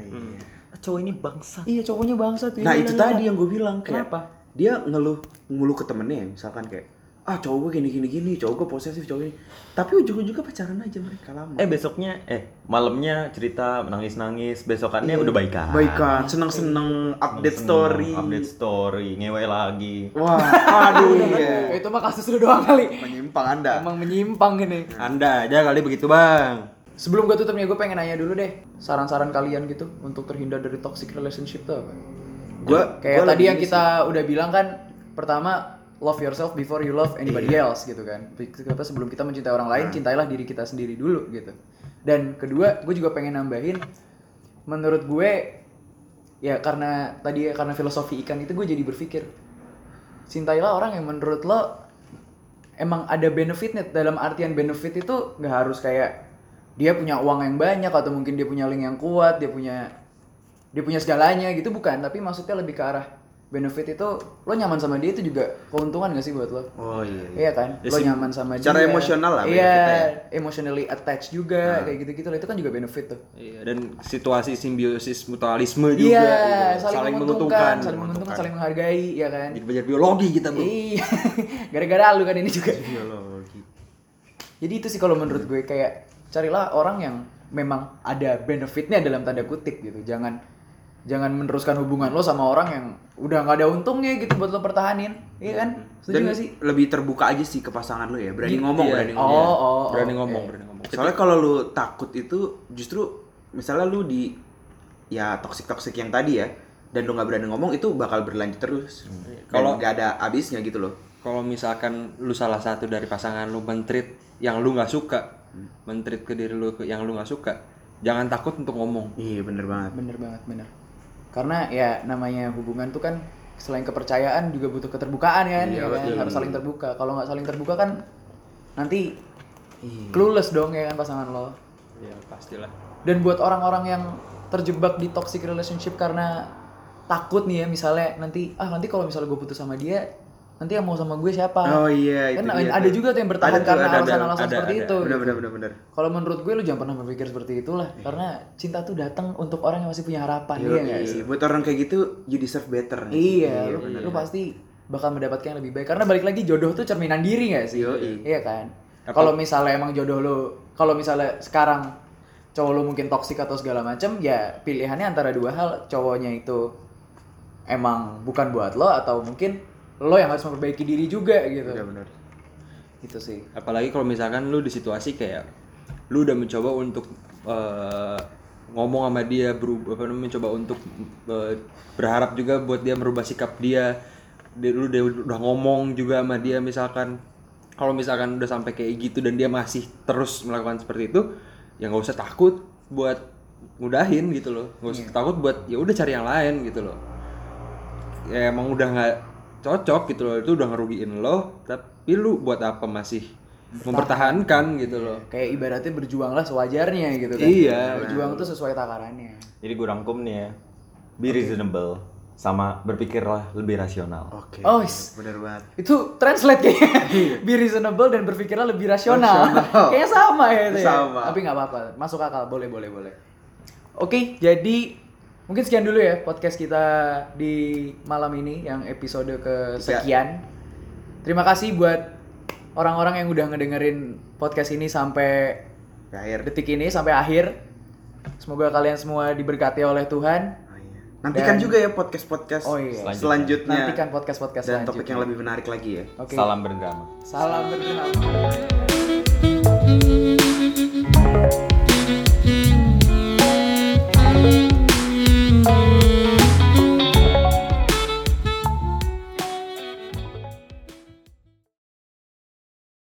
Cowok ini bangsa.
Iya, cowoknya bangsa tuh.
Nah
Iya,
itu
iya,
tadi
iya.
yang gue bilang kayak
Kenapa?
Dia ngeluh ngeluh ke temennya ya, misalkan kayak ah cowok gue gini gini gini cowok gue posesif cowok ini tapi ujung ujungnya pacaran aja mereka lama
[LAUGHS] Eh besoknya, eh malamnya cerita nangis nangis, besokannya udah baikan.
Iya.
iya.
baikan seneng seneng
Seneng,
update story
Update story, ngewe lagi.
[LAUGHS]
wah aduh
Ya,
iya
Itu mah kasus lu doang kali.
menyimpang anda
Emang menyimpang gini.
Anda aja kali begitu bang.
Sebelum gue tutup nih, gue pengen nanya dulu deh saran-saran kalian gitu untuk terhindar dari toxic relationship tuh apa?
gue
Kayak tadi yang kita udah bilang kan, pertama love yourself before you love anybody else gitu kan. Kita sebelum kita mencintai orang lain, cintailah diri kita sendiri dulu gitu. Dan kedua, gue juga pengen nambahin, menurut gue ya karena tadi ya, karena filosofi ikan itu gue jadi berpikir cintailah orang yang menurut lo emang ada benefitnya dalam artian benefit itu nggak harus kayak dia punya uang yang banyak atau mungkin dia punya link yang kuat dia punya dia punya segalanya gitu bukan tapi maksudnya lebih ke arah benefit itu lo nyaman sama dia itu juga keuntungan gak sih buat lo
oh iya, iya.
Iya kan,
Ya,
lo
sim-
nyaman sama dia.
secara emosional lah
Iya,
benefitnya ya. Nah.
emotionally attached juga, kayak gitu-gitu lah. Itu kan juga benefit tuh.
Iya, dan situasi simbiosis mutualisme juga
Iya,
gitu.
saling, menguntungkan, saling menguntungkan, saling menghargai, ya kan.
Iya.
Jadi belajar biologi kita, Bro.
Iya, [LAUGHS] gara-gara lu kan ini juga. Jadi itu sih kalau menurut gue kayak carilah orang yang memang ada benefitnya dalam tanda kutip gitu. Jangan jangan meneruskan hubungan lo sama orang yang udah nggak ada untungnya gitu buat lo pertahanin, iya kan? Setuju
dan
gak sih?
lebih terbuka aja sih ke pasangan lu ya berani
Iya.
ngomong
Iya.
berani
Oh,
ngomong
oh, oh,
berani
oke.
ngomong, berani ngomong.
Soalnya kalau lu takut itu justru misalnya lu di ya toksik toksik yang tadi ya dan lu nggak berani ngomong itu bakal berlanjut terus.
Hmm.
Kalau
Kalau-
nggak ada habisnya gitu loh.
Kalau misalkan lu salah satu dari pasangan lu mentrit yang lu nggak suka,
Hmm.
mentrit ke diri lu ke- yang lu nggak suka, jangan takut untuk ngomong.
Iya bener banget.
Bener banget, bener. Karena ya namanya hubungan tuh kan selain kepercayaan juga butuh keterbukaan kan, ya
Iya,
kan? harus saling terbuka. Kalau nggak saling terbuka kan nanti
Iya.
clueless dong ya kan pasangan lo.
Ya, pastilah.
Dan buat orang-orang yang terjebak di toxic relationship karena takut nih ya misalnya nanti ah nanti kalau misalnya gue putus sama dia nanti yang mau sama gue siapa?
Oh iya itu
kan
dia
ada
tuh.
juga tuh yang bertahan
Ada tuh,
karena
ada, ada,
alasan-alasan
ada,
seperti
ada.
itu.
Oh, Bener
gitu.
bener bener bener.
Kalau menurut gue lu jangan pernah berpikir seperti itulah karena cinta tuh datang untuk orang yang masih punya harapan iya nggak
Yoi,
sih?
buat orang kayak gitu you deserve better.
Iya, lu,
bener.
lu pasti bakal mendapatkan yang lebih baik karena balik lagi jodoh tuh cerminan diri nggak sih?
Yoi.
Iya kan. Kalau misalnya emang jodoh lu, kalau misalnya sekarang cowok lu mungkin toksik atau segala macem, ya pilihannya antara dua hal, cowoknya itu emang bukan buat lo atau mungkin lo yang harus memperbaiki diri juga gitu.
Bener bener.
Itu sih.
apalagi kalau misalkan lu di situasi kayak lu udah mencoba untuk eh, ngomong sama dia berubah apa namanya mencoba untuk eh, berharap juga buat dia merubah sikap dia dia lu udah, udah ngomong juga sama dia misalkan kalau misalkan udah sampai kayak gitu dan dia masih terus melakukan seperti itu ya nggak usah takut buat mudahin gitu loh nggak usah takut buat ya udah cari yang lain gitu loh ya emang udah nggak cocok gitu loh itu udah ngerugiin lo tapi lu buat apa masih mempertahankan gitu loh
Kayak ibaratnya berjuanglah sewajarnya gitu kan.
Iya.
Berjuang tuh sesuai takarannya.
Jadi gue rangkum nih ya, be reasonable sama berpikirlah lebih rasional.
Oke.
Oh, is-
bener banget.
itu translate kayaknya be reasonable dan berpikirlah lebih rasional
Iya. Rasional.
kayaknya sama ya itu ya.
Sama.
tapi nggak apa-apa masuk akal boleh boleh boleh oke jadi mungkin sekian dulu ya podcast kita di malam ini yang episode ke
Iya.
sekian terima kasih buat orang-orang yang udah ngedengerin podcast ini sampai
Terakhir.
detik ini sampai akhir semoga kalian semua diberkati oleh Tuhan
Oh, iya. Nantikan
Dan-
juga ya podcast-podcast
Oh, iya.
selanjutnya.
Nantikan podcast-podcast
dan topik
selanjutnya.
yang lebih menarik lagi ya.
Oke.
Salam berdrama.
Salam berdrama.
Thank